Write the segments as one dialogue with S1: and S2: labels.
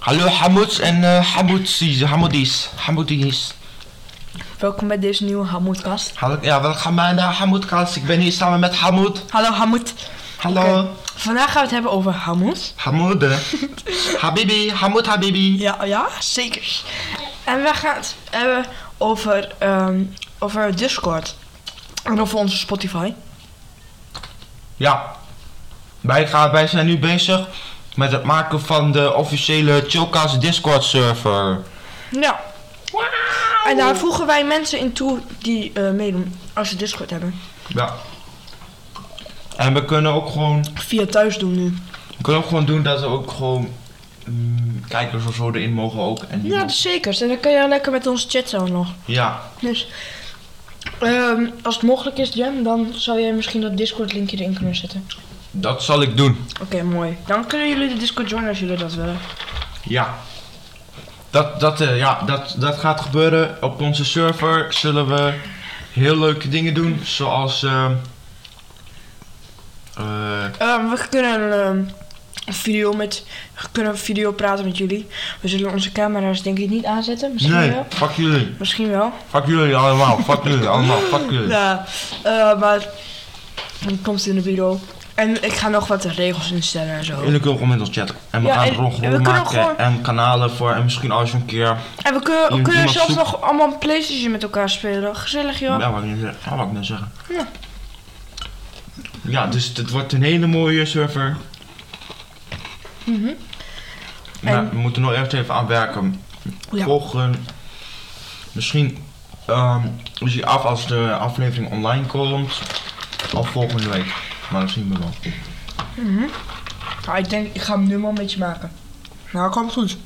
S1: Hallo Hamoud en eh Hamoudis. Hamoudis. Hamoudis.
S2: Welkom bij deze nieuwe Hamoudcast.
S1: Hallo, ja, welkom bij de Hamoudkast. Ik ben hier samen met Hamoud.
S2: Hallo Hamoud.
S1: Hallo.
S2: Oké, Vandaag gaan we het hebben over Hamoud.
S1: Hamoud. Habibi. Hamoud Habibi.
S2: Ja, Oh ja, zeker. En we gaan het hebben over, ehm, over Discord. En over onze Spotify.
S1: Ja. Wij, gaan, wij zijn nu bezig met het maken van de officiële Chillcast Discord server.
S2: Ja. En daar voegen wij mensen in toe die eh, meedoen als ze Discord hebben.
S1: Ja. En we kunnen ook gewoon,
S2: Via thuis doen nu.
S1: we kunnen ook gewoon doen dat er ook gewoon mm, kijkers of zo erin mogen ook. En die
S2: Ja, dus-
S1: mogen-
S2: dat is zeker. En dan kan je lekker met ons chatten ook nog.
S1: ja.
S2: Dus ehm, als het mogelijk is, Jam, dan zou jij misschien dat Discord linkje erin kunnen zetten.
S1: Dat zal ik doen.
S2: Oké, mooi. Dan kunnen jullie de Discord joinen als jullie dat willen.
S1: Ja. Dat, dat, eh, ja, dat, dat gaat gebeuren. Op onze server zullen we heel leuke dingen doen. Zoals. eh, eh,
S2: Ehm, we kunnen ehm, een video met we kunnen een video praten met jullie. We zullen onze camera's denk ik niet aanzetten. Misschien
S1: nee,
S2: wel.
S1: fuck jullie.
S2: Misschien wel.
S1: Fuck jullie allemaal. Fuck jullie allemaal. Fuck jullie.
S2: Ja, eh, maar dan komt het in de video. En ik ga nog wat regels instellen en zo.
S1: Jullie kunnen gewoon met ons chatten. En we
S2: Ja,
S1: gaan
S2: en
S1: er gewoon
S2: we
S1: groepen
S2: kunnen
S1: maken.
S2: gewoon-
S1: En kanalen voor. En misschien als je een keer.
S2: En we kunnen, we
S1: Iemand
S2: kunnen
S1: op
S2: zelfs
S1: zoek.
S2: nog allemaal een Playstation met elkaar spelen. Gezellig joh.
S1: Ja, wat ik nu zeg- ja, wat ik net zeggen.
S2: Ja.
S1: Ja, dus het wordt een hele mooie server.
S2: Mhm.
S1: Maar
S2: En-
S1: we moeten nog echt even aan werken.
S2: Ja.
S1: Volgen. Misschien ehm we zien af als de aflevering online komt. Of volgende week. Maar dat zien we wel.
S2: Nou, ik denk, ik ga hem nu maar een beetje maken. Nou, komt goed.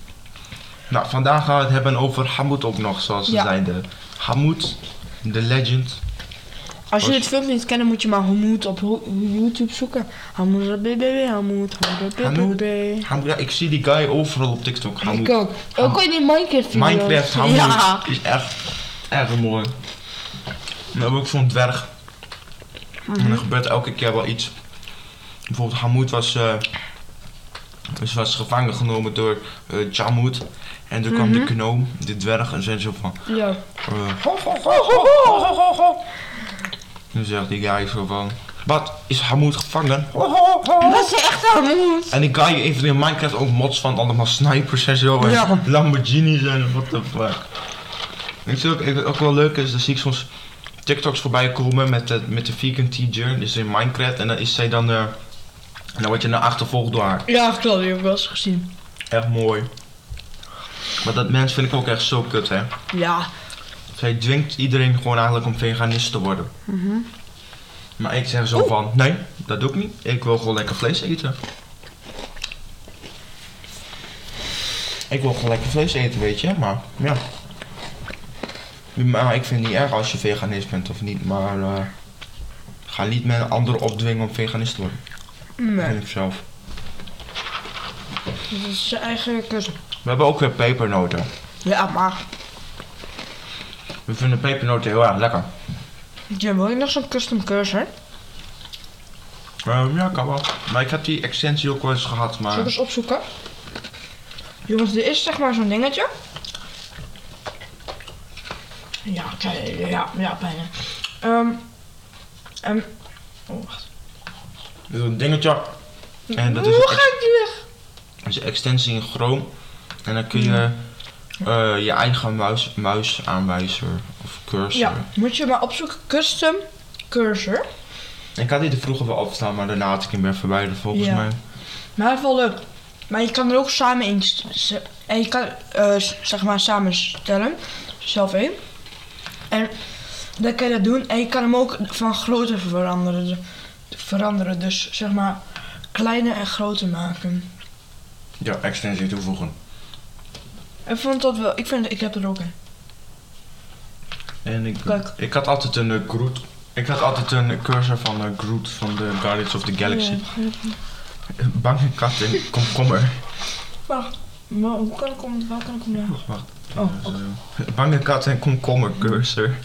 S1: Nou, vandaag gaan we het hebben over Hamoud ook nog, zoals ze
S2: Ja.
S1: zeiden. Hamoud, de legend.
S2: Als
S1: Als-
S2: jullie het filmpje niet kennen, moet je maar Hamoud op ho- YouTube zoeken. Hamoud, BBB, Hamoud, Hamoud,
S1: Hamoud.
S2: BBB.
S1: Hamoud, ja, ik zie die guy overal op TikTok. Hamoud.
S2: Ik ook. Ook in die Minecraft video's.
S1: Minecraft Hamoed
S2: Ja.
S1: is echt erg mooi. We hebben ook zo'n dwerg. En er gebeurt elke keer wel iets. Bijvoorbeeld Hamoud was, eh, dus was gevangen genomen door eh Jamud. En toen kwam de knoom, de dwerg, en zei zo van...
S2: Ja.
S1: eh, Mhm. ho, ho, ho, ho, ho, ho, ho, ho. Nu zegt die guy zo van... Wat? Is Hamoud gevangen? Ho, ho, ho, ho."
S2: Dat is echt Hamoud.
S1: En die guy heeft in Minecraft ook mods van allemaal snipers en zo. En
S2: Ja.
S1: Lamborghinis en what the fuck. Ik zie ook, ik- ook wel leuk is, dan zie ik soms TikToks voorbij komen met de, met de vegan teacher. Dus in Minecraft. En dan is zij dan. eh, en dan word je naar achtervolgd door haar.
S2: Ja, klopt. Die heb ik wel eens gezien.
S1: Echt mooi. Maar dat mens vind ik ook echt zo kut, hè.
S2: Ja.
S1: Zij dwingt iedereen gewoon eigenlijk om veganist te worden. Maar ik zeg zo van, nee, dat doe ik niet. Ik wil gewoon lekker vlees eten. Ik wil gewoon lekker vlees eten, weet je, maar ja. Maar ik vind het niet erg als je veganist bent of niet, maar eh, ga niet met een ander opdwingen om veganist te worden. Dat
S2: Nee.
S1: vind ik zelf.
S2: Dat is zijn eigen keuze.
S1: We hebben ook weer pepernoten.
S2: Ja, maar.
S1: We vinden pepernoten heel erg lekker.
S2: Jim, wil je nog zo'n custom cursor?
S1: Ehm, ja, kan wel. Maar ik heb die extensie ook wel eens gehad, maar...
S2: Zal ik eens opzoeken? Jongens, er is zeg maar zo'n dingetje. Ja, oké, ja, ja, bijna. Ehm ehm, oh, wacht.
S1: Dus een dingetje. En dat is,
S2: Hoe
S1: een, ex-
S2: gaat die weg?
S1: is een extensie in Chrome. En dan kun je
S2: Hmm.
S1: eh, je eigen muis, muisaanwijzer of cursor.
S2: Ja, moet je maar opzoeken. Custom cursor.
S1: Ik had die er vroeger wel opstaan, maar daarna had ik hem weer verwijderd volgens
S2: Ja.
S1: mij.
S2: Maar het is wel leuk. Maar je kan er ook samen in... st- ze- En je kan, eh, s- zeg maar, samenstellen. Zelf in. En dan kan je dat doen. En je kan hem ook van grootte veranderen. de- veranderen. Dus, zeg maar, kleiner en groter maken.
S1: Ja, extensie toevoegen.
S2: Ik vond dat wel... Ik, vind, ik heb er ook een.
S1: En ik,
S2: Kijk.
S1: ik had altijd een eh, Groot. Ik had altijd een cursor van eh, Groot van de Guardians of the Galaxy. Een Bange kat en komkommer.
S2: Wacht. Maar hoe kan ik hem... Waar kan ik hem nou?
S1: Wacht, wacht.
S2: Oh,
S1: Een Bange kat en komkommer cursor.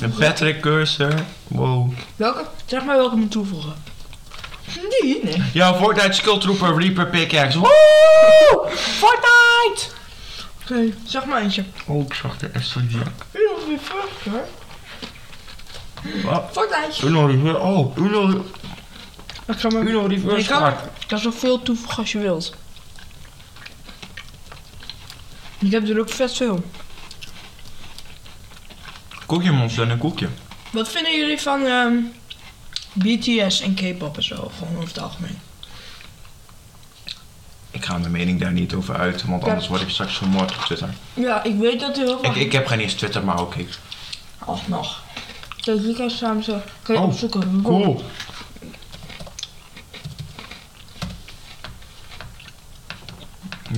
S1: Een Patrick cursor. Wow.
S2: Welke? Zeg maar welke moet toevoegen. Die? Nee.
S1: Ja, Fortnite Skull Trooper Reaper Pickaxe. Woe! Fortnite!
S2: Oké, zeg maar eentje.
S1: Oh, ik zag de extra jack.
S2: Uno reverse, hoor.
S1: Wat?
S2: Fortnite.
S1: Ah, Uno reverse. Oh, Uno,
S2: Ik ga maar...
S1: Uno
S2: Je
S1: reverse
S2: kan,
S1: card.
S2: je kan zoveel toevoegen als je wilt. Ik heb er ook vet veel.
S1: Koekje monster en een koekje.
S2: Wat vinden jullie van ehm, BTS en K-pop en zo, gewoon over het algemeen?
S1: Ik ga mijn mening daar niet over uit, want
S2: Ja.
S1: anders word ik straks vermoord op Twitter.
S2: Ja, ik weet dat heel
S1: Ik, ik heb geen eens Twitter, maar ook ik.
S2: Of nog. Dat je kan samen zo... Kan je
S1: Oh,
S2: opzoeken.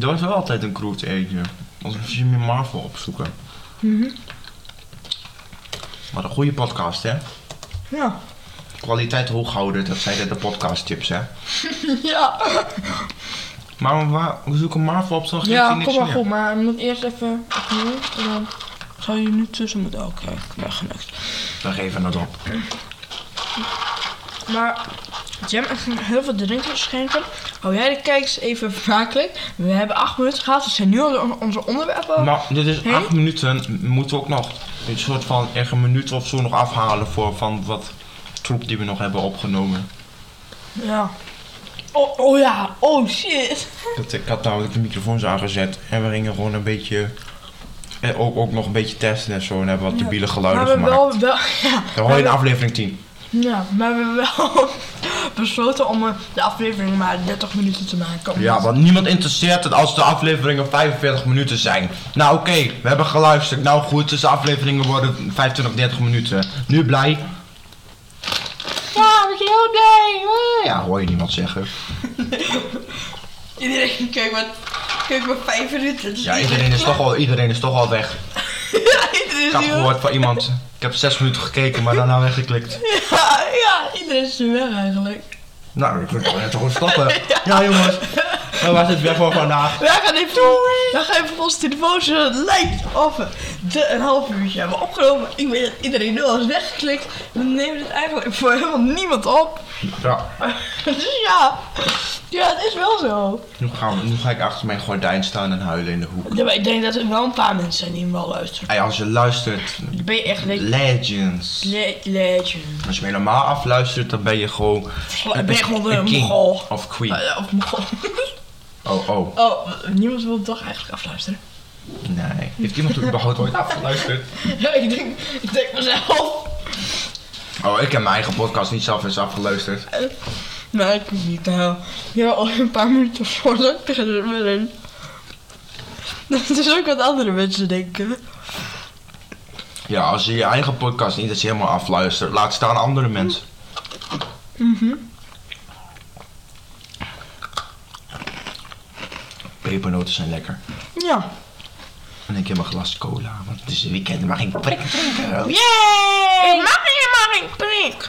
S1: Er was wel altijd een crew te eentje. Alsof je meer Marvel opzoeken.
S2: Mhm.
S1: Maar een goede podcast, hè?
S2: Ja.
S1: Kwaliteit hoog houden, dat zijn de- de podcast tips, hè?
S2: ja.
S1: Maar waar, we zoeken Marvel op, dan geeft hij
S2: Ja,
S1: niks
S2: kom maar
S1: meer.
S2: goed, maar je moet eerst even opnieuw. En dan zou je nu tussen moeten. Oké, ik ben gelukt.
S1: We geven het op.
S2: Maar Jam, ik ging heel veel drinken schenken. Hou jij de kijkers even vermakelijk. We hebben acht minuten gehad, we zijn nu al on- onze onderwerpen.
S1: Maar dit is
S2: Hè?
S1: acht minuten, m- moeten we ook nog een soort van echt een minuut of zo nog afhalen voor van wat troep die we nog hebben opgenomen.
S2: Ja. Oh, oh ja, oh shit.
S1: Dat, ik had namelijk de microfoons aangezet en we gingen gewoon een beetje, en ook, ook nog een beetje testen en zo en hebben wat
S2: Ja.
S1: debiele
S2: Maar
S1: geluiden
S2: we hebben
S1: gemaakt.
S2: wel, wel, ja,
S1: Dan hoor je in aflevering 10.
S2: ja, maar we hebben wel besloten om eh, de aflevering maar 30 minuten te maken.
S1: Ja, want niemand interesseert het als de afleveringen 45 minuten zijn. Nou oké, we hebben geluisterd. Nou goed, dus de afleveringen worden 25, 30 minuten. Nu blij.
S2: Ja, we zijn heel blij.
S1: Eh, Ja, hoor je niemand zeggen.
S2: Iedereen kijkt maar, kijkt maar 5 minuten. Dus
S1: Ja, iedereen is toch al, iedereen is toch al weg.
S2: Ja, iedereen is
S1: Ik had
S2: heel-
S1: gehoord van iemand. Ik heb zes minuten gekeken, maar daarna weggeklikt.
S2: Ja, ja, iedereen is nu weg eigenlijk.
S1: Nou, ik kan toch gewoon stoppen. Ja, jongens. Dat was het weer voor vandaag.
S2: Wij gaan even, wij gaan even op onze telefoons. eh, Het lijkt of we de een half uurtje hebben opgenomen. Ik weet dat iedereen nu al is weggeklikt. We nemen dit eigenlijk voor helemaal niemand op.
S1: Ja,
S2: Dus ja, ja, het is wel zo.
S1: nu, gaan we, nu ga ik achter mijn gordijn staan en huilen in de hoek.
S2: Ja, maar ik denk dat er wel een paar mensen zijn die hem wel luisteren.
S1: Hey, als je luistert,
S2: Dan ben je echt le-
S1: legends.
S2: le- legend.
S1: Als je me normaal afluistert, dan ben je gewoon...
S2: Oh, Ben je gewoon eh,
S1: een
S2: een
S1: king
S2: mogol.
S1: Ah, Of queen.
S2: Eh, Of mogol.
S1: Oh, oh.
S2: Oh, niemand wil toch eigenlijk afluisteren.
S1: Nee. Heeft iemand er überhaupt ooit afgeluisterd?
S2: Ja, ik denk, ik denk mezelf.
S1: Oh, ik heb mijn eigen podcast niet zelf eens afgeluisterd.
S2: Nee, ik weet niet. Nou, ja, al een paar minuten voordat ik er weer in. Dat is ook wat andere mensen denken.
S1: Ja, als je je eigen podcast niet eens helemaal afluistert, laat staan andere mensen.
S2: Mhm.
S1: Pepernoten zijn lekker.
S2: Ja.
S1: En ik heb een glas cola, want het is een weekend, maar geen prik drinken.
S2: Yay! Ik mag helemaal geen prik.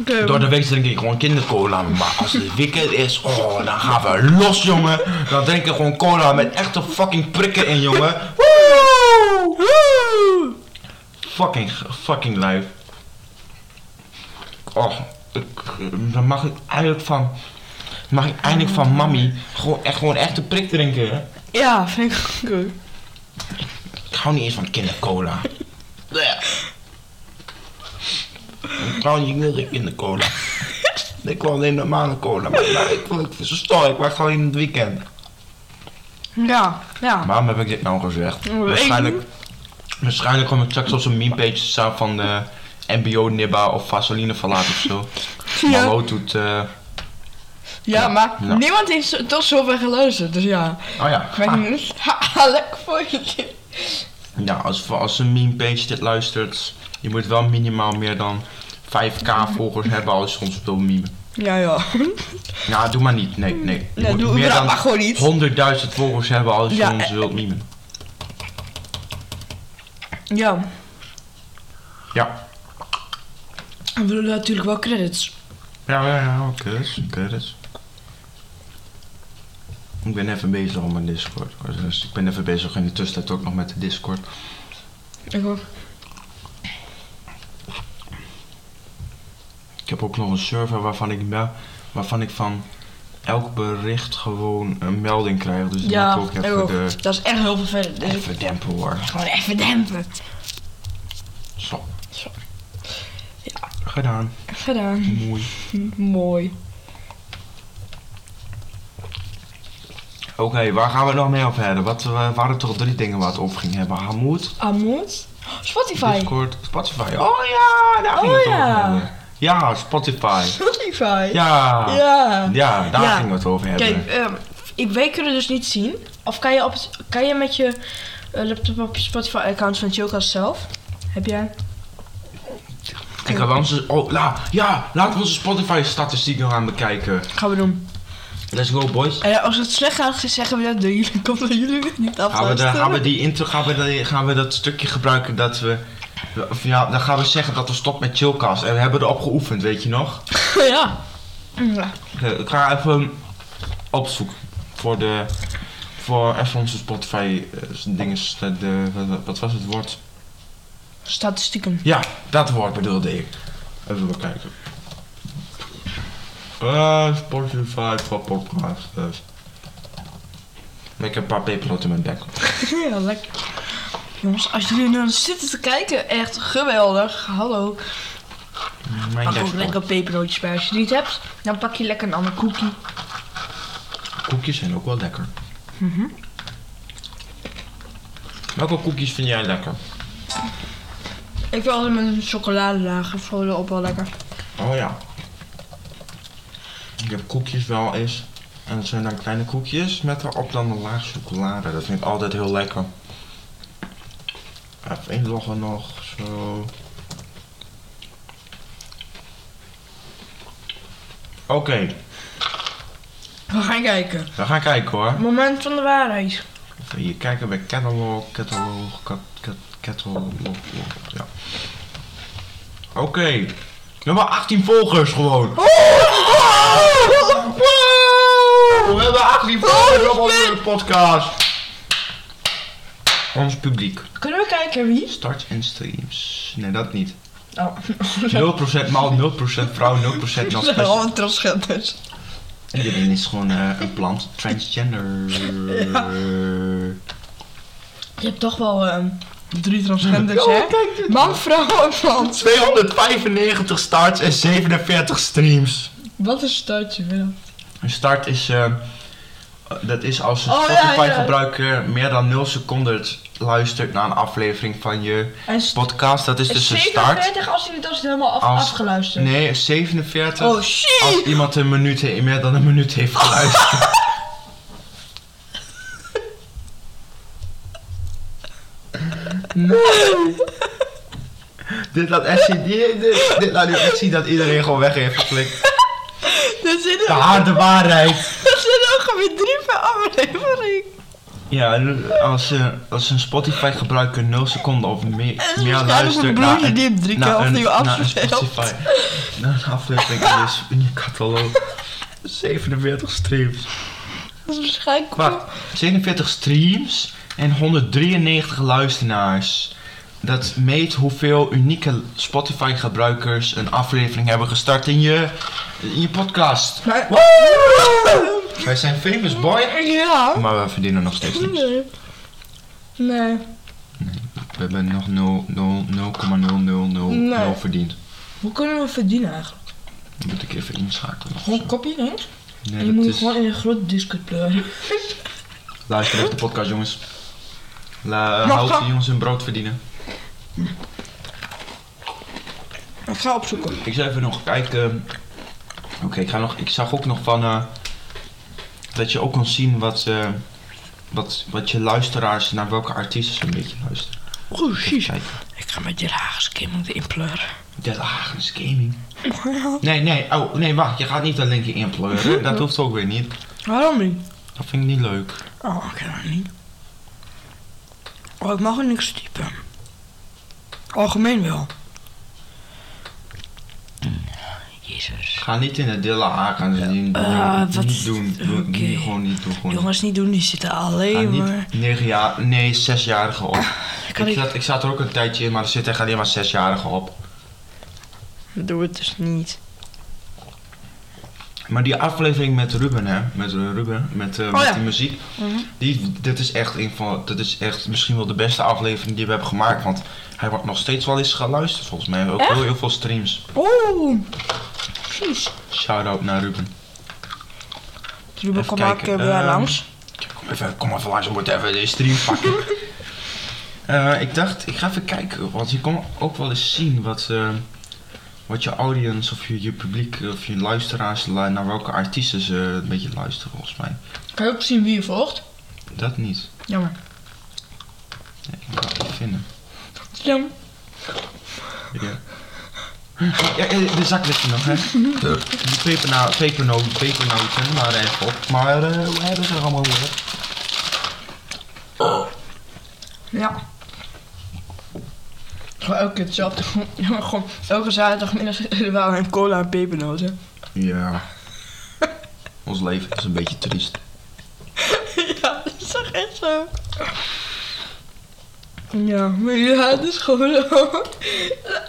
S2: Oké,
S1: Door de week drink ik gewoon kindercola, maar als het weekend is, oh, dan gaan we los, jongen. Dan drink ik gewoon cola met echte fucking prikken in, jongen.
S2: Woe! Woe!
S1: Fucking, fucking lui. Oh, ik, dan mag ik eigenlijk van, mag ik eindelijk van mami gewoon echt, gewoon echt een prik drinken. hè?
S2: Ja, vind ik ook.
S1: Ik hou niet eens van kindercola. Blech. Ik hou niet meer van kindercola. Ik wil alleen normale cola, maar maar ik wil ik vind ze stom, ik wacht gewoon in het weekend.
S2: Ja, ja.
S1: Waarom heb ik dit nou gezegd?
S2: Weet ik
S1: Waarschijnlijk, waarschijnlijk kom ik straks op zo'n meme page te staan van de MBO Nibba of Vaseline verlaat of zo.
S2: Ja.
S1: Malo doet. eh,
S2: Ja, maar
S1: Ja.
S2: niemand heeft zo- tot zover geluisterd, dus ja.
S1: oh ja.
S2: Ik weet
S1: Ah.
S2: niet. Haha, lekker voor je.
S1: Ja, als, als een meme page dit luistert, je moet wel minimaal meer dan 5k volgers hebben als je ons wil meme.
S2: Ja, ja.
S1: Nou, doe maar niet. Nee, nee. Je
S2: Nee,
S1: moet
S2: doe
S1: meer
S2: überhaupt
S1: dan
S2: maar gewoon niet.
S1: 100.000 volgers hebben als je
S2: Ja,
S1: ons
S2: eh,
S1: wilt memen.
S2: Ja,
S1: Ja.
S2: we willen natuurlijk wel credits.
S1: Ja, ja, ja. Oké, dus, oké, dus. Ik ben even bezig om mijn Discord. Dus ik ben even bezig in de tussentijd ook nog met de Discord.
S2: Ik ook.
S1: Ik heb heb ook nog een server waarvan ik, me- waarvan ik van elk bericht gewoon een melding krijg. Dus dan
S2: Ja,
S1: moet ik ook
S2: ik
S1: even,
S2: ook.
S1: De,
S2: dat is echt heel vervelend. Dus ik
S1: even dempen hoor.
S2: gewoon even dempen.
S1: Zo.
S2: Zo.
S1: Ja. Gedaan.
S2: Gedaan.
S1: Mooi.
S2: Mooi.
S1: Oké, waar gaan we het nog mee over hebben? Wat, eh, waren toch drie dingen waar we het over gingen hebben? Hamoed,
S2: Amoed? Spotify.
S1: Discord, Spotify. Oh ja, daar gingen we
S2: Oh,
S1: het over
S2: ja.
S1: hebben. Ja, Spotify.
S2: Spotify.
S1: Ja.
S2: Ja.
S1: Ja, daar
S2: Ja.
S1: gingen we het over hebben.
S2: Kijk, ehm, ik, wij kunnen dus niet zien. Of kan je, op het, kan je met je eh, laptop op je Spotify-account van Chilkas zelf? Heb jij?
S1: Ik had onze, oh, la, ja, laten we onze Spotify-statistiek nog aan bekijken.
S2: Gaan we doen.
S1: Let's go, boys.
S2: En als het slecht gaat, zeggen we dat door jullie. Komt dat jullie weer niet af.
S1: Gaan we, de, gaan, we die intro, gaan, we die- gaan we dat stukje gebruiken dat we... Of ja, dan gaan we zeggen dat we stoppen met chillcast. En we hebben erop geoefend, weet je nog?
S2: ja. ja.
S1: Oké, ik ga even opzoeken voor de... Voor even onze Spotify eh, dingen... De, de- wat was het woord?
S2: Statistieken.
S1: Ja, dat woord bedoelde ik. Even bekijken. Eh, Spotify voor podcast. Ik heb een paar pepernoten in mijn bek.
S2: ja, lekker. Jongens, als jullie nu zitten te kijken, echt geweldig. Hallo.
S1: Mijn
S2: Pak
S1: bek.
S2: ook lekker pepernootjes bij als je die niet hebt. Dan pak je lekker een ander koekje.
S1: Koekjes zijn ook wel lekker.
S2: Mhm.
S1: Welke koekjes vind jij lekker?
S2: Ik wil altijd met een chocoladelaag. Ik vond het ook wel lekker.
S1: Oh ja. Ik heb koekjes wel eens. En dat zijn dan kleine koekjes met erop dan een laag chocolade. Dat vind ik altijd heel lekker. Even inloggen nog, zo. Oké,
S2: We gaan kijken.
S1: we gaan kijken hoor.
S2: Moment van de waarheid.
S1: Even hier kijken bij catalog, catalog, cat, cat, catalog, ja. Oké, nummer 18 volgers gewoon. We hebben 18 volgers op onze podcast. Ons publiek.
S2: Kunnen we kijken wie?
S1: Starts en streams. Nee, dat niet.
S2: Oh,
S1: 0% man, 0% vrouw, 0%
S2: dat zijn
S1: non
S2: allemaal transgenders.
S1: Iedereen is gewoon eh, een plant. Transgender.
S2: Je hebt toch wel ehm, drie transgenders,
S1: Ja,
S2: hè?
S1: kijk dit.
S2: Man, vrouw en plant.
S1: 295 starts en 47 streams.
S2: Wat is het uitje, Willem?
S1: Een start is, eh, dat is als een
S2: Oh, ja, ja.
S1: Spotify-gebruiker eh, meer dan 0 seconden luistert naar een aflevering van je
S2: En st-
S1: podcast. Dat is
S2: en
S1: dus een start.
S2: 47 als hij het als helemaal af,
S1: Als-
S2: afgeluisterd.
S1: Nee, 47
S2: Oh shit! Oh.
S1: als iemand een minuut, he- meer dan een minuut heeft geluisterd. Nee. Dit laat echt zien, dit, dit- dit laat nu echt zien dat iedereen gewoon weg heeft geflikt.
S2: Er zitten
S1: De harde waarheid.
S2: er zitten ook weer drie per aflevering.
S1: Ja, en als, eh, als een Spotify gebruiker 0 seconden of meer,
S2: En
S1: meer
S2: waarschijnlijk
S1: luistert
S2: een
S1: naar
S2: broertje die hem drie keer
S1: naar een-
S2: opnieuw
S1: naar een
S2: afspeelt.
S1: Spotify, naar een aflevering in je, in je catalog. 47 streams.
S2: Dat is waarschijnlijk
S1: Wacht, 47 streams en 193 luisteraars. Dat meet hoeveel unieke Spotify gebruikers een aflevering hebben gestart in je, in je podcast.
S2: Maar-
S1: Wij zijn famous boy.
S2: Ja.
S1: Maar we verdienen nog steeds niks.
S2: Nee. Nee.
S1: We hebben nog 0,0000
S2: Nee.
S1: verdiend.
S2: Hoe kunnen we verdienen eigenlijk?
S1: Dan moet ik even inschakelen. of
S2: Gewoon
S1: zo.
S2: kopje links?
S1: Nee,
S2: En je
S1: dat
S2: moet
S1: is...
S2: gewoon in een grote discut pleuren.
S1: Luister even de podcast, jongens. La,
S2: Maar
S1: houd
S2: ga-
S1: die jongens hun brood verdienen.
S2: Ik ga opzoeken.
S1: Ik zou even nog kijken. ehm, Oké, ik ga nog. ik zag ook nog van. eh, dat je ook kon zien wat, eh, wat, wat je luisteraars, naar welke artiesten ze een beetje luisteren.
S2: Oeh,
S1: Even
S2: precies.
S1: kijken.
S2: Ik ga met die lagers keer moeten inpleuren.
S1: De Hagens Gaming. Nee, nee, oh, nee, wacht. Je gaat niet dat linkje inpleuren. Dat hoeft ook weer niet.
S2: Waarom niet?
S1: Dat vind ik niet leuk.
S2: Oh, ik kan dat niet. Oh, ik mag er niks typen. Algemeen wel. Jezus.
S1: Ga niet in de dille haken. Dus die-
S2: Eh,
S1: die-
S2: wat-
S1: niet doen. Doe-
S2: oké.
S1: niet- gewoon niet doen. Gewoon
S2: Jongens, niet doen, die zitten
S1: niet. Ga
S2: alleen maar.
S1: niet negen jaar, nee, zesjarigen op.
S2: Ah, kan
S1: ik,
S2: niet-
S1: zat, ik zat er ook een tijdje in, maar er zitten echt alleen maar zesjarigen op.
S2: Doe het dus niet.
S1: Maar die aflevering met Ruben, hè? Met eh, Ruben, met, eh,
S2: Oh,
S1: met
S2: ja.
S1: die muziek. Die, dit, is echt een van, dit is echt misschien wel de beste aflevering die we hebben gemaakt. Want hij wordt nog steeds wel eens geluisterd, volgens mij. Ook
S2: Echt?
S1: heel, heel veel streams.
S2: Oeh. Precies.
S1: Shout-out naar Ruben.
S2: Ruben
S1: Even
S2: komt ook
S1: kijken,
S2: weer
S1: ehm,
S2: langs.
S1: Kom even, kom even langs, we moeten even de stream pakken. Eh, ik dacht, ik ga even kijken, want je kon ook wel eens zien wat, eh, wat je audience of je, je publiek of je luisteraars, lu- naar welke artiesten ze een beetje luisteren volgens mij.
S2: Kan je ook zien wie je volgt?
S1: Dat niet.
S2: Jammer.
S1: Nee, ik kan het niet vinden.
S2: Jammer.
S1: Ja. Ja, eh, de zak ligt er nog, hè? Die peperna- peperno- pepernoten, maar even op. Maar eh, we hebben ze er allemaal weer.
S2: Ja. Gewoon elke keer hetzelfde. Gewoon, gewoon elke zaterdagmiddag zitten er wel een cola en pepernoten.
S1: Ja. Ons leven is een beetje triest.
S2: ja, dat is toch echt zo? Ja, maar ja, het is gewoon zo.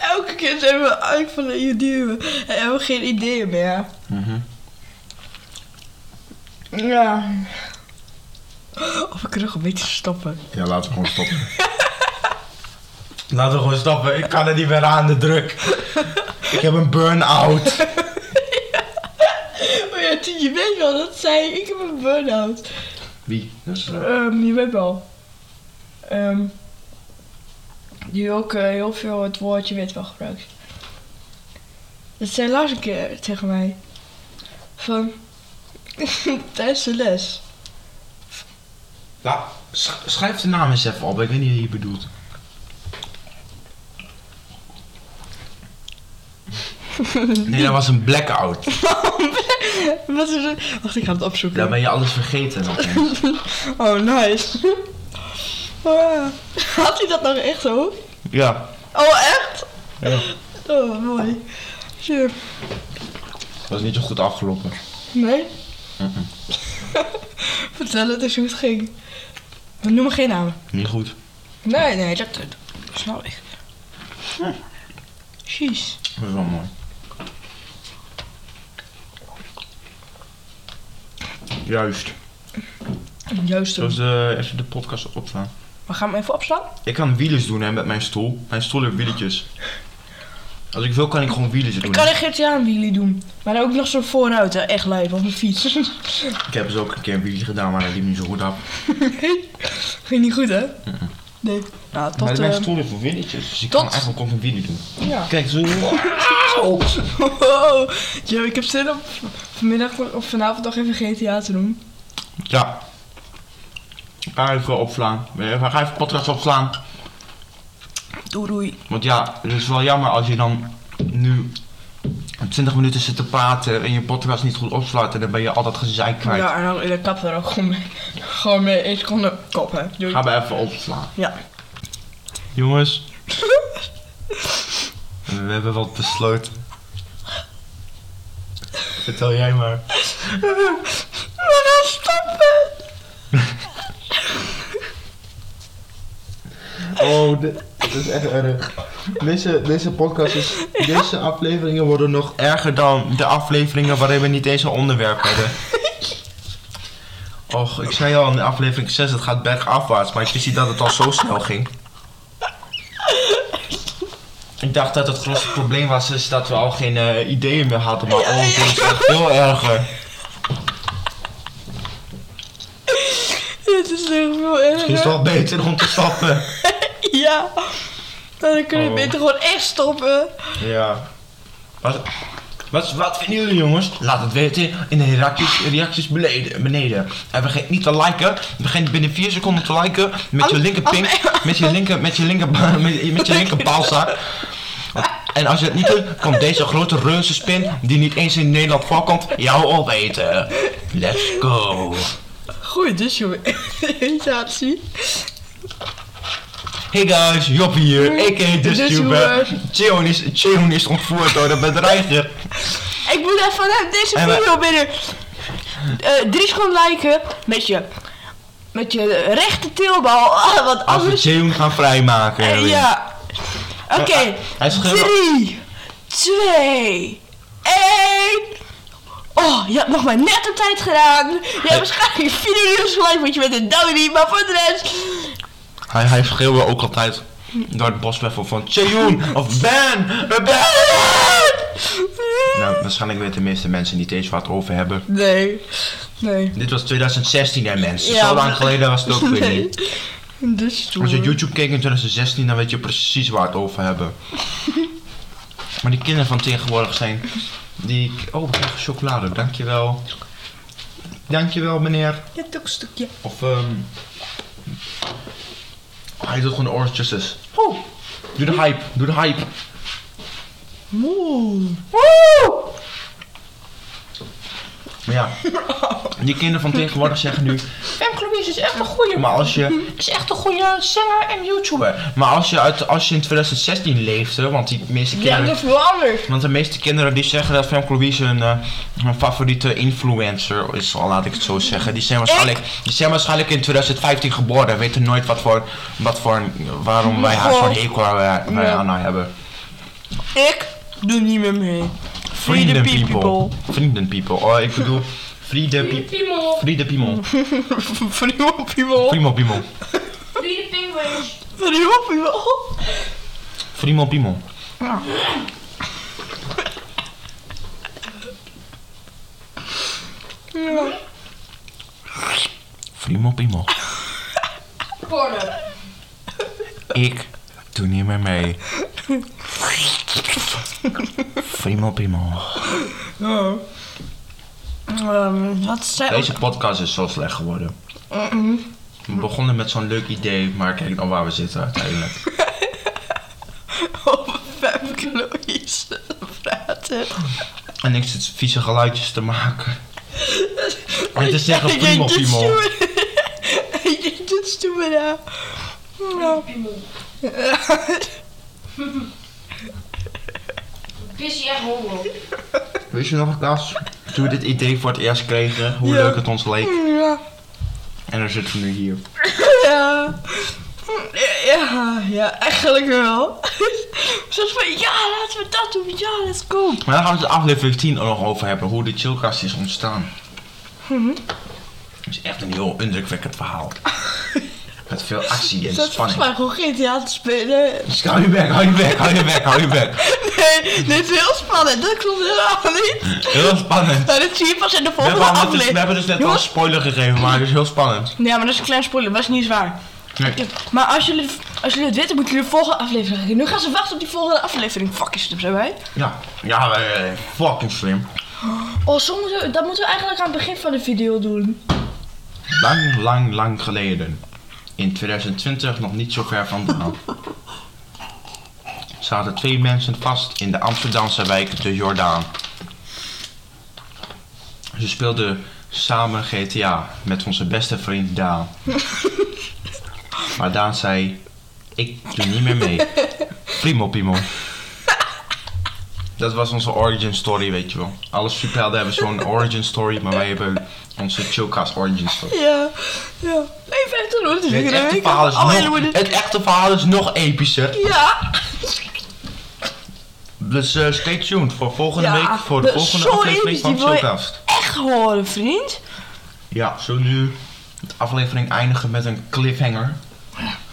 S2: Elke keer zijn we uit van de duwen en hebben we geen ideeën meer.
S1: Mhm.
S2: Ja. Of we kunnen nog een beetje stoppen.
S1: Ja, laten we gewoon stoppen. laten we gewoon stoppen. Ik kan er niet meer aan de druk. Ik heb een burn-out.
S2: Oh ja, Tien, je weet wel, dat zei ik. Ik heb een burn-out.
S1: Wie? Dat is, eh,
S2: Ehm, je weet wel. Ehm, die ook eh, heel veel het woordje weet wel gebruikt. Dat zei Lars een keer tegen mij. Van, tijdens de les.
S1: nou, sch- schrijf de naam eens even op. Ik weet niet wie je bedoelt. Nee, dat was een blackout.
S2: Wat is het? Wacht, ik ga het opzoeken.
S1: Dan ben je alles vergeten. nog eens.
S2: Oh, nice. Ah, Had hij dat nou echt zo?
S1: Ja.
S2: Oh, echt?
S1: ja.
S2: Oh, mooi. Zo.
S1: Dat was niet zo goed afgelopen.
S2: Nee? Vertel het eens hoe het ging. We noemen geen namen.
S1: Niet goed.
S2: Nee, nee, dat, dat snap ik. Jeez.
S1: Dat is wel mooi. Juist.
S2: Juist
S1: Zoals
S2: hem.
S1: de, eh, even de podcast opslaan.
S2: We gaan hem even opslaan.
S1: Ik kan wielers doen hè, met mijn stoel. Mijn stoel heeft wieletjes. Als ik wil kan ik gewoon wielers doen.
S2: Ik kan
S1: hè.
S2: een GTA wheelie doen. Maar dan ook nog zo vooruit, hè. echt lijp, op een fiets.
S1: Ik heb dus ook een keer een wielie gedaan, maar dat liep niet zo goed af.
S2: Ging niet goed, hè? Nee. Nou,
S1: maar
S2: tot...
S1: mijn
S2: ehm,
S1: stoel heeft wel wieletjes, dus ik
S2: tot-
S1: kan eigenlijk ook een wielie doen.
S2: ja.
S1: Kijk, zo... Auw!
S2: Wow. Ja, ik heb zin om vanmiddag of vanavond nog even GTA te doen.
S1: Ja. Ga even opslaan. Eh, Ga even podcast opslaan.
S2: Doei, doei.
S1: Want ja, het is wel jammer als je dan nu 20 minuten zit te praten en je podcast niet goed opslaat en dan ben je al dat gezeik kwijt.
S2: Ja, en dan in de kap er ook gewoon mee. Gewoon mee. Ik kon de kop, hè. Doei.
S1: Ga maar even opslaan.
S2: Ja.
S1: Jongens. We hebben wat besloten. Vertel jij maar.
S2: We gaan stoppen.
S1: Oh, dit, dit is echt erg. Deze, deze podcast is... Deze afleveringen worden nog erger dan de afleveringen waarin we niet eens een onderwerp hadden. Och, ik zei al in aflevering 6, het gaat bergafwaarts, maar ik wist niet dat het al zo snel ging. Ik dacht dat het grootste probleem was is dat we al geen eh, ideeën meer hadden, maar oh, dit is echt veel erger.
S2: Dit is echt veel erger.
S1: Het is wel beter om te stappen.
S2: Ja. Nou, dan kunnen we
S1: Oh.
S2: beter gewoon echt stoppen.
S1: Ja. Wat, wat, wat vinden jullie jongens? Laat het weten in de reacties, reacties beneden, beneden. En vergeet niet te liken. Vergeet binnen 4 seconden te liken. Met je
S2: Als-
S1: linkerpink. Met je linker, met je linker, met, je- met je linkerpaalzak. En als je het niet doet, komt deze grote reuzenspin, die niet eens in Nederland voorkomt, jou opeten. Let's go.
S2: Goeie dus, jongen. Irritatie.
S1: Hey guys, Job hier,
S2: Mm.
S1: a.k.a.
S2: This
S1: de
S2: Joeber.
S1: Tuber. Cheon is, Cheon is ontvoerd door de bedreiger.
S2: Ik moet even vanuit deze
S1: En we-
S2: video binnen. Eh drie seconden liken met je, met je rechte teelbal. Ah, want
S1: Als we
S2: anders...
S1: Cheon gaan vrijmaken.
S2: Eh,
S1: Erwin.
S2: ja. Oké.
S1: Hij schreeuwt-
S2: Drie, twee, één. Oh, Oh, je hebt nog maar net op tijd gedaan. Je hebt waarschijnlijk vier uur geschreven, want je bent een dowdy. Maar voor de rest...
S1: Hij, hij schreeuwde ook altijd door het bos weg van Cheyoon of Van! Van! Nou, waarschijnlijk weten de meeste mensen niet eens waar het over hebben.
S2: Nee. Nee.
S1: Dit was 2016 hè mensen,
S2: Ja,
S1: zo lang
S2: maar-
S1: geleden was het ook weer
S2: Nee.
S1: niet.
S2: Dus
S1: Als je
S2: stoer.
S1: YouTube keek in 2016 dan weet je precies waar het over hebben. maar die kinderen van tegenwoordig zijn, die... Oh, we krijgen chocolade, dankjewel. Dankjewel meneer.
S3: Je hebt ook een stukje.
S1: Of ehm. Hij doet gewoon de orange justice.
S2: Oh.
S1: Doe de hype, doe de hype.
S2: Moe.
S1: Maar ja, die kinderen van tegenwoordig zeggen nu... Femke Louise is echt een goeie. Maar als je... Is echt een goede zanger en YouTuber. Maar als je, uit, als je in 2016 leefde, want die meeste
S2: Ja,
S1: kinderen...
S2: dat is wel anders.
S1: Want de meeste kinderen die zeggen dat Femke Louise een, eh, hun favoriete influencer is, al laat ik het zo zeggen. Die zijn waarschijnlijk, die zijn waarschijnlijk in 2015 geboren en weten nooit wat voor, wat voor, waarom wij haar zo'n hekel wij, wij
S2: Ja.
S1: aan haar nou hebben.
S2: Ik doe niet meer mee.
S1: Vrienden people. Vrienden people. Oh, ik bedoel, vrienden people.
S4: Piemel,
S1: Vrienden people.
S2: Vrienden people.
S1: Primo piemel.
S4: vierde pinguïns.
S2: Vrienden people.
S1: Primo piemel. Primo piemel.
S4: Porno.
S1: Ik doe niet meer mee. Primo piemel.
S2: Oh. Ehm, wat zei
S1: Deze podcast is zo slecht geworden. We begonnen met zo'n leuk idee, maar kijk dan waar we zitten uiteindelijk.
S2: over Femke Louise praten?
S1: En ik zit vieze geluidjes te maken. En te zeggen
S2: Ik denk
S1: primo
S2: dit
S1: piemel.
S2: stoer. Ik denk dit stoer daar. Nou,
S4: Piemel. Pissie echt homo.
S1: Weet je nog, Kas? Toen we dit idee voor het eerst kregen, hoe leuk het ons leek.
S2: Ja.
S1: En dan zitten we nu hier.
S2: Ja. Ja, ja, eigenlijk wel. Zoals van, ja, laten we dat doen. Ja, let's go.
S1: Maar daar gaan we het in aflevering 10 ook nog over hebben, hoe de chillkast is ontstaan.
S2: Mhm.
S1: Het is echt een heel indrukwekkend verhaal. Met veel actie en
S2: Dat is volgens
S1: spanning.
S2: mij gewoon GTA te spelen.
S1: Dus hou je bek, hou je bek, hou je bek, hou je bek.
S2: Nee, dit is heel spannend. Dat klopt helemaal niet.
S1: Heel spannend.
S2: Nou, dat zie je pas in de
S1: We
S2: volgende
S1: hebben, al net, we
S2: aflevering.
S1: hebben dus net al een
S2: Jongens.
S1: spoiler gegeven, maar het is heel spannend.
S2: Ja, maar dat is een klein spoiler. Dat is niet zwaar.
S1: Nee.
S2: Ja, Maar als jullie, als jullie het weten, moeten jullie de volgende aflevering kijken. Nu gaan ze wachten op die volgende aflevering. Fuck, is het er zo bij?
S1: Ja, ja, eh, fucking slim.
S2: Oh, zo moeten we, dat moeten we eigenlijk aan het begin van de video doen.
S1: Lang, lang, lang geleden. In 2020 nog niet zo ver vandaan. Zaten twee mensen vast in de Amsterdamse wijk de Jordaan. Ze speelden samen GTA met onze beste vriend Daan. Maar Daan zei: Ik doe niet meer mee. Primo, Pimo. Dat was onze origin story, weet je wel. Alle superhelden hebben zo'n origin story, maar wij hebben onze Chilcast origin story.
S2: Ja, ja. Even echt doen, het
S1: Het
S2: is weer een
S1: echte,
S2: week.
S1: verhaal is
S2: Oh, en dan
S1: nog,
S2: wordt het-
S1: het echte verhaal is nog epischer.
S2: Ja,
S1: Dus eh, stay tuned voor volgende
S2: Ja,
S1: week. Voor de
S2: dat is
S1: volgende
S2: zo
S1: aflevering
S2: episch,
S1: van
S2: die wil je-
S1: Chillcast.
S2: echt horen, vriend.
S1: Ja, zo nu de aflevering eindigen met een cliffhanger.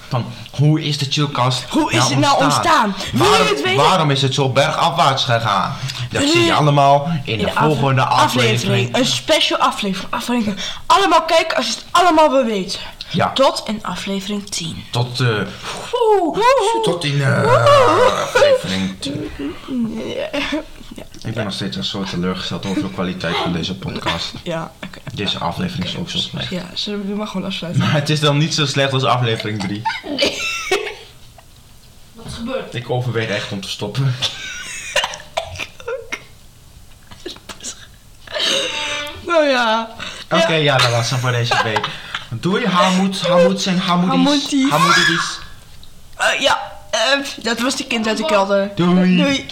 S1: Van hoe is de Chillcast
S2: Hoe is het nou ontstaan? Wil je
S1: Waarom,
S2: het weten?
S1: waarom is het zo bergafwaarts gegaan? Dat
S2: Wil
S1: zie je
S2: je-
S1: allemaal in de,
S2: In de afle-
S1: volgende aflevering.
S2: Een special aflevering. aflevering. Allemaal kijken als je het allemaal wil weten.
S1: Ja.
S2: Tot in aflevering 10.
S1: Tot, eh,
S2: Oeh, oeh.
S1: tot in eh aflevering. t- Ik ben nog steeds een soort teleurgesteld over de kwaliteit van deze podcast.
S2: Ja, oké.
S1: Deze aflevering is ook zo slecht.
S2: Ja, ze je mag gewoon afsluiten.
S1: Maar het is dan niet zo slecht als aflevering 3.
S4: Wat is gebeurd?
S1: Ik overweeg echt om te stoppen.
S2: Nou ja.
S1: Oké, ja, dat was het voor deze week. Doei, Hamoed, Hamoed zijn Hamoedies.
S2: Hamoedies.
S1: Hamoedies.
S2: Eh, ja, eh, dat was die kind uit de kelder.
S1: Doei.
S2: Doei.